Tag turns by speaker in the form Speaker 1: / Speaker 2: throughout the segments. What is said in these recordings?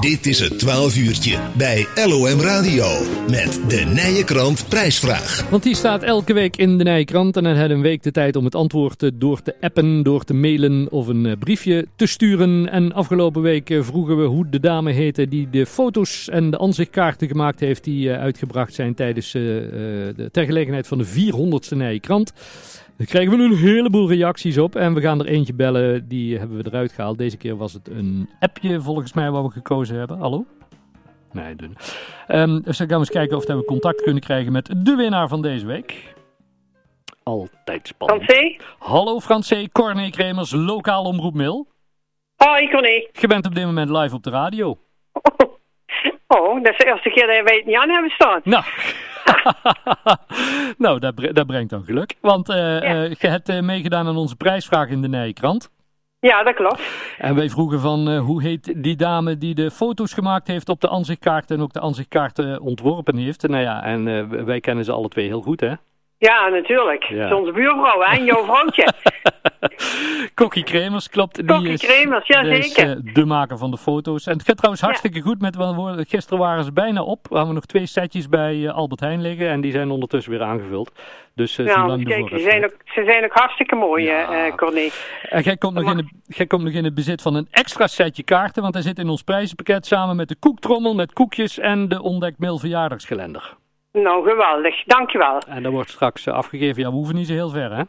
Speaker 1: Dit is het 12 uurtje bij LOM Radio met de Nijenkrant prijsvraag.
Speaker 2: Want die staat elke week in de Nijkrant en dan hebben we een week de tijd om het antwoord eh, door te appen, door te mailen of een eh, briefje te sturen. En afgelopen week eh, vroegen we hoe de dame heette die de foto's en de aanzichtkaarten gemaakt heeft die eh, uitgebracht zijn tijdens eh, eh, de, ter gelegenheid van de 400ste Nijkrant. Daar kregen we een heleboel reacties op en we gaan er eentje bellen, die hebben we eruit gehaald. Deze keer was het een appje volgens mij waar we gekozen hebben. Hallo? Nee, doen. Ehm, dus dan gaan we eens kijken of dat we contact kunnen krijgen met de winnaar van deze week. Altijd spannend.
Speaker 3: Francé?
Speaker 2: Hallo Francé, Corné Kremers, lokaal omroep Mil.
Speaker 3: Hoi, Corné.
Speaker 2: Je bent op dit moment live op de radio.
Speaker 3: Oh, dat is de eerste keer dat wij het niet aan hebben staan.
Speaker 2: Nou, nou dat, bre- dat brengt dan geluk. Want eh, eh, je hebt eh, meegedaan aan onze prijsvraag in de Nijkrant.
Speaker 3: Ja, dat klopt.
Speaker 2: En wij vroegen van eh, hoe heet die dame die de foto's gemaakt heeft op de ansichtkaart en ook de ansichtkaart eh, ontworpen heeft. Nou ja, en eh, w- wij kennen ze alle twee heel goed, hè?
Speaker 3: Ja, natuurlijk.
Speaker 2: Ja.
Speaker 3: Dat is onze buurvrouw, hè? En jouw vrouwtje.
Speaker 2: Kokkie Kremers, klopt. die
Speaker 3: Kokkie
Speaker 2: is-
Speaker 3: Kremers, ja,
Speaker 2: dat is,
Speaker 3: zeker.
Speaker 2: eh, de maker van de foto's. En het gaat trouwens hartstikke goed met wat woorden. Gisteren waren ze bijna op. We hadden nog twee setjes bij eh, Albert Heijn liggen. En die zijn ondertussen weer aangevuld. Dus eh, zie
Speaker 3: Nou,
Speaker 2: lang
Speaker 3: eens
Speaker 2: de
Speaker 3: kijken, ze
Speaker 2: voorraad.
Speaker 3: zijn ook, ze zijn ook hartstikke mooi,
Speaker 2: Ja.
Speaker 3: eh, eh, Corné.
Speaker 2: En jij komt, nog in de, jij komt nog in het bezit van een extra setje kaarten. Want hij zit in ons prijzenpakket samen met de koektrommel, met koekjes en de ontdekt mail verjaardagskalender.
Speaker 3: Nou, geweldig. Dankjewel.
Speaker 2: En dat wordt straks eh, afgegeven. Ja, we hoeven niet zo heel ver, hè?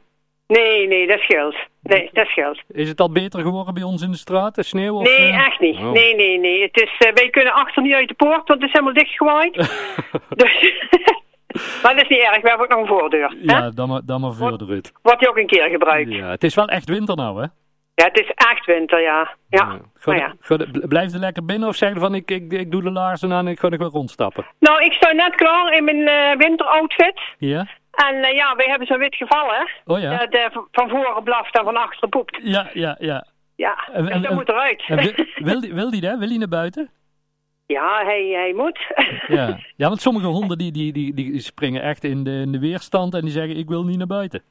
Speaker 3: Nee, nee, dat scheelt. Nee, dat scheelt.
Speaker 2: Is het al beter geworden bij ons in de straat, de sneeuw? Of,
Speaker 3: Nee,
Speaker 2: eh?
Speaker 3: echt niet.
Speaker 2: Oh.
Speaker 3: Nee, nee, nee. Het is, eh, wij kunnen achter niet uit de poort, want het is helemaal dichtgewaaid. dus... maar dat is niet erg. We hebben ook nog een voordeur. hè?
Speaker 2: Ja, dan maar, dan maar verder, Ruud.
Speaker 3: Wordt die ook een keer gebruikt. Ja,
Speaker 2: Ja, het is wel echt winter nou, hè?
Speaker 3: het is echt winter, ja. Ja.
Speaker 2: Ga-
Speaker 3: Nou ja.
Speaker 2: ga- bl- blijf er lekker binnen of zeg je van ik, ik, ik doe de laarzen aan en ik ga nog wel rondstappen?
Speaker 3: Nou, ik sta net klaar in mijn eh, winteroutfit.
Speaker 2: Ja?
Speaker 3: En eh, ja, wij hebben zo'n wit geval, hè?
Speaker 2: Oh ja.
Speaker 3: Dat eh, v- van voren blaft en van achteren poept.
Speaker 2: Ja, ja, ja.
Speaker 3: Ja,
Speaker 2: En-
Speaker 3: dus
Speaker 2: en-
Speaker 3: dat
Speaker 2: en-
Speaker 3: moet eruit.
Speaker 2: En wil, wil, die, wil die dat? Wil die naar buiten?
Speaker 3: ja, hij, hij moet.
Speaker 2: Ja, ja want sommige honden die, die, die, die springen echt in de, in de weerstand en die zeggen ik wil niet naar buiten.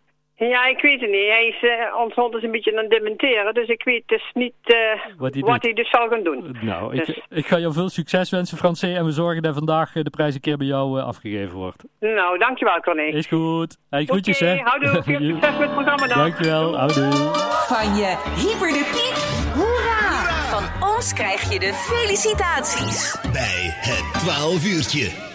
Speaker 3: ja, ik weet het niet. Hij is, eh, ons hond is een beetje aan het dementeren, dus ik weet dus niet eh,
Speaker 2: Wat hij doet.
Speaker 3: wat hij dus zal gaan doen.
Speaker 2: Nou,
Speaker 3: Dus-
Speaker 2: ik, ik ga jou veel succes wensen, Francé. En we zorgen dat vandaag eh, de prijs een keer bij jou eh, afgegeven wordt.
Speaker 3: Nou, dankjewel, Corné.
Speaker 2: Is goed. Hey, groetjes,
Speaker 3: Oké,
Speaker 2: Eh, hè?
Speaker 3: houdoe. Veel
Speaker 2: Jo.
Speaker 3: succes met het programma dan.
Speaker 2: Dankjewel. Houdoe.
Speaker 4: Van je hyper de piek. Hoera! Van ons krijg je de felicitaties.
Speaker 1: Bij het 12 uurtje.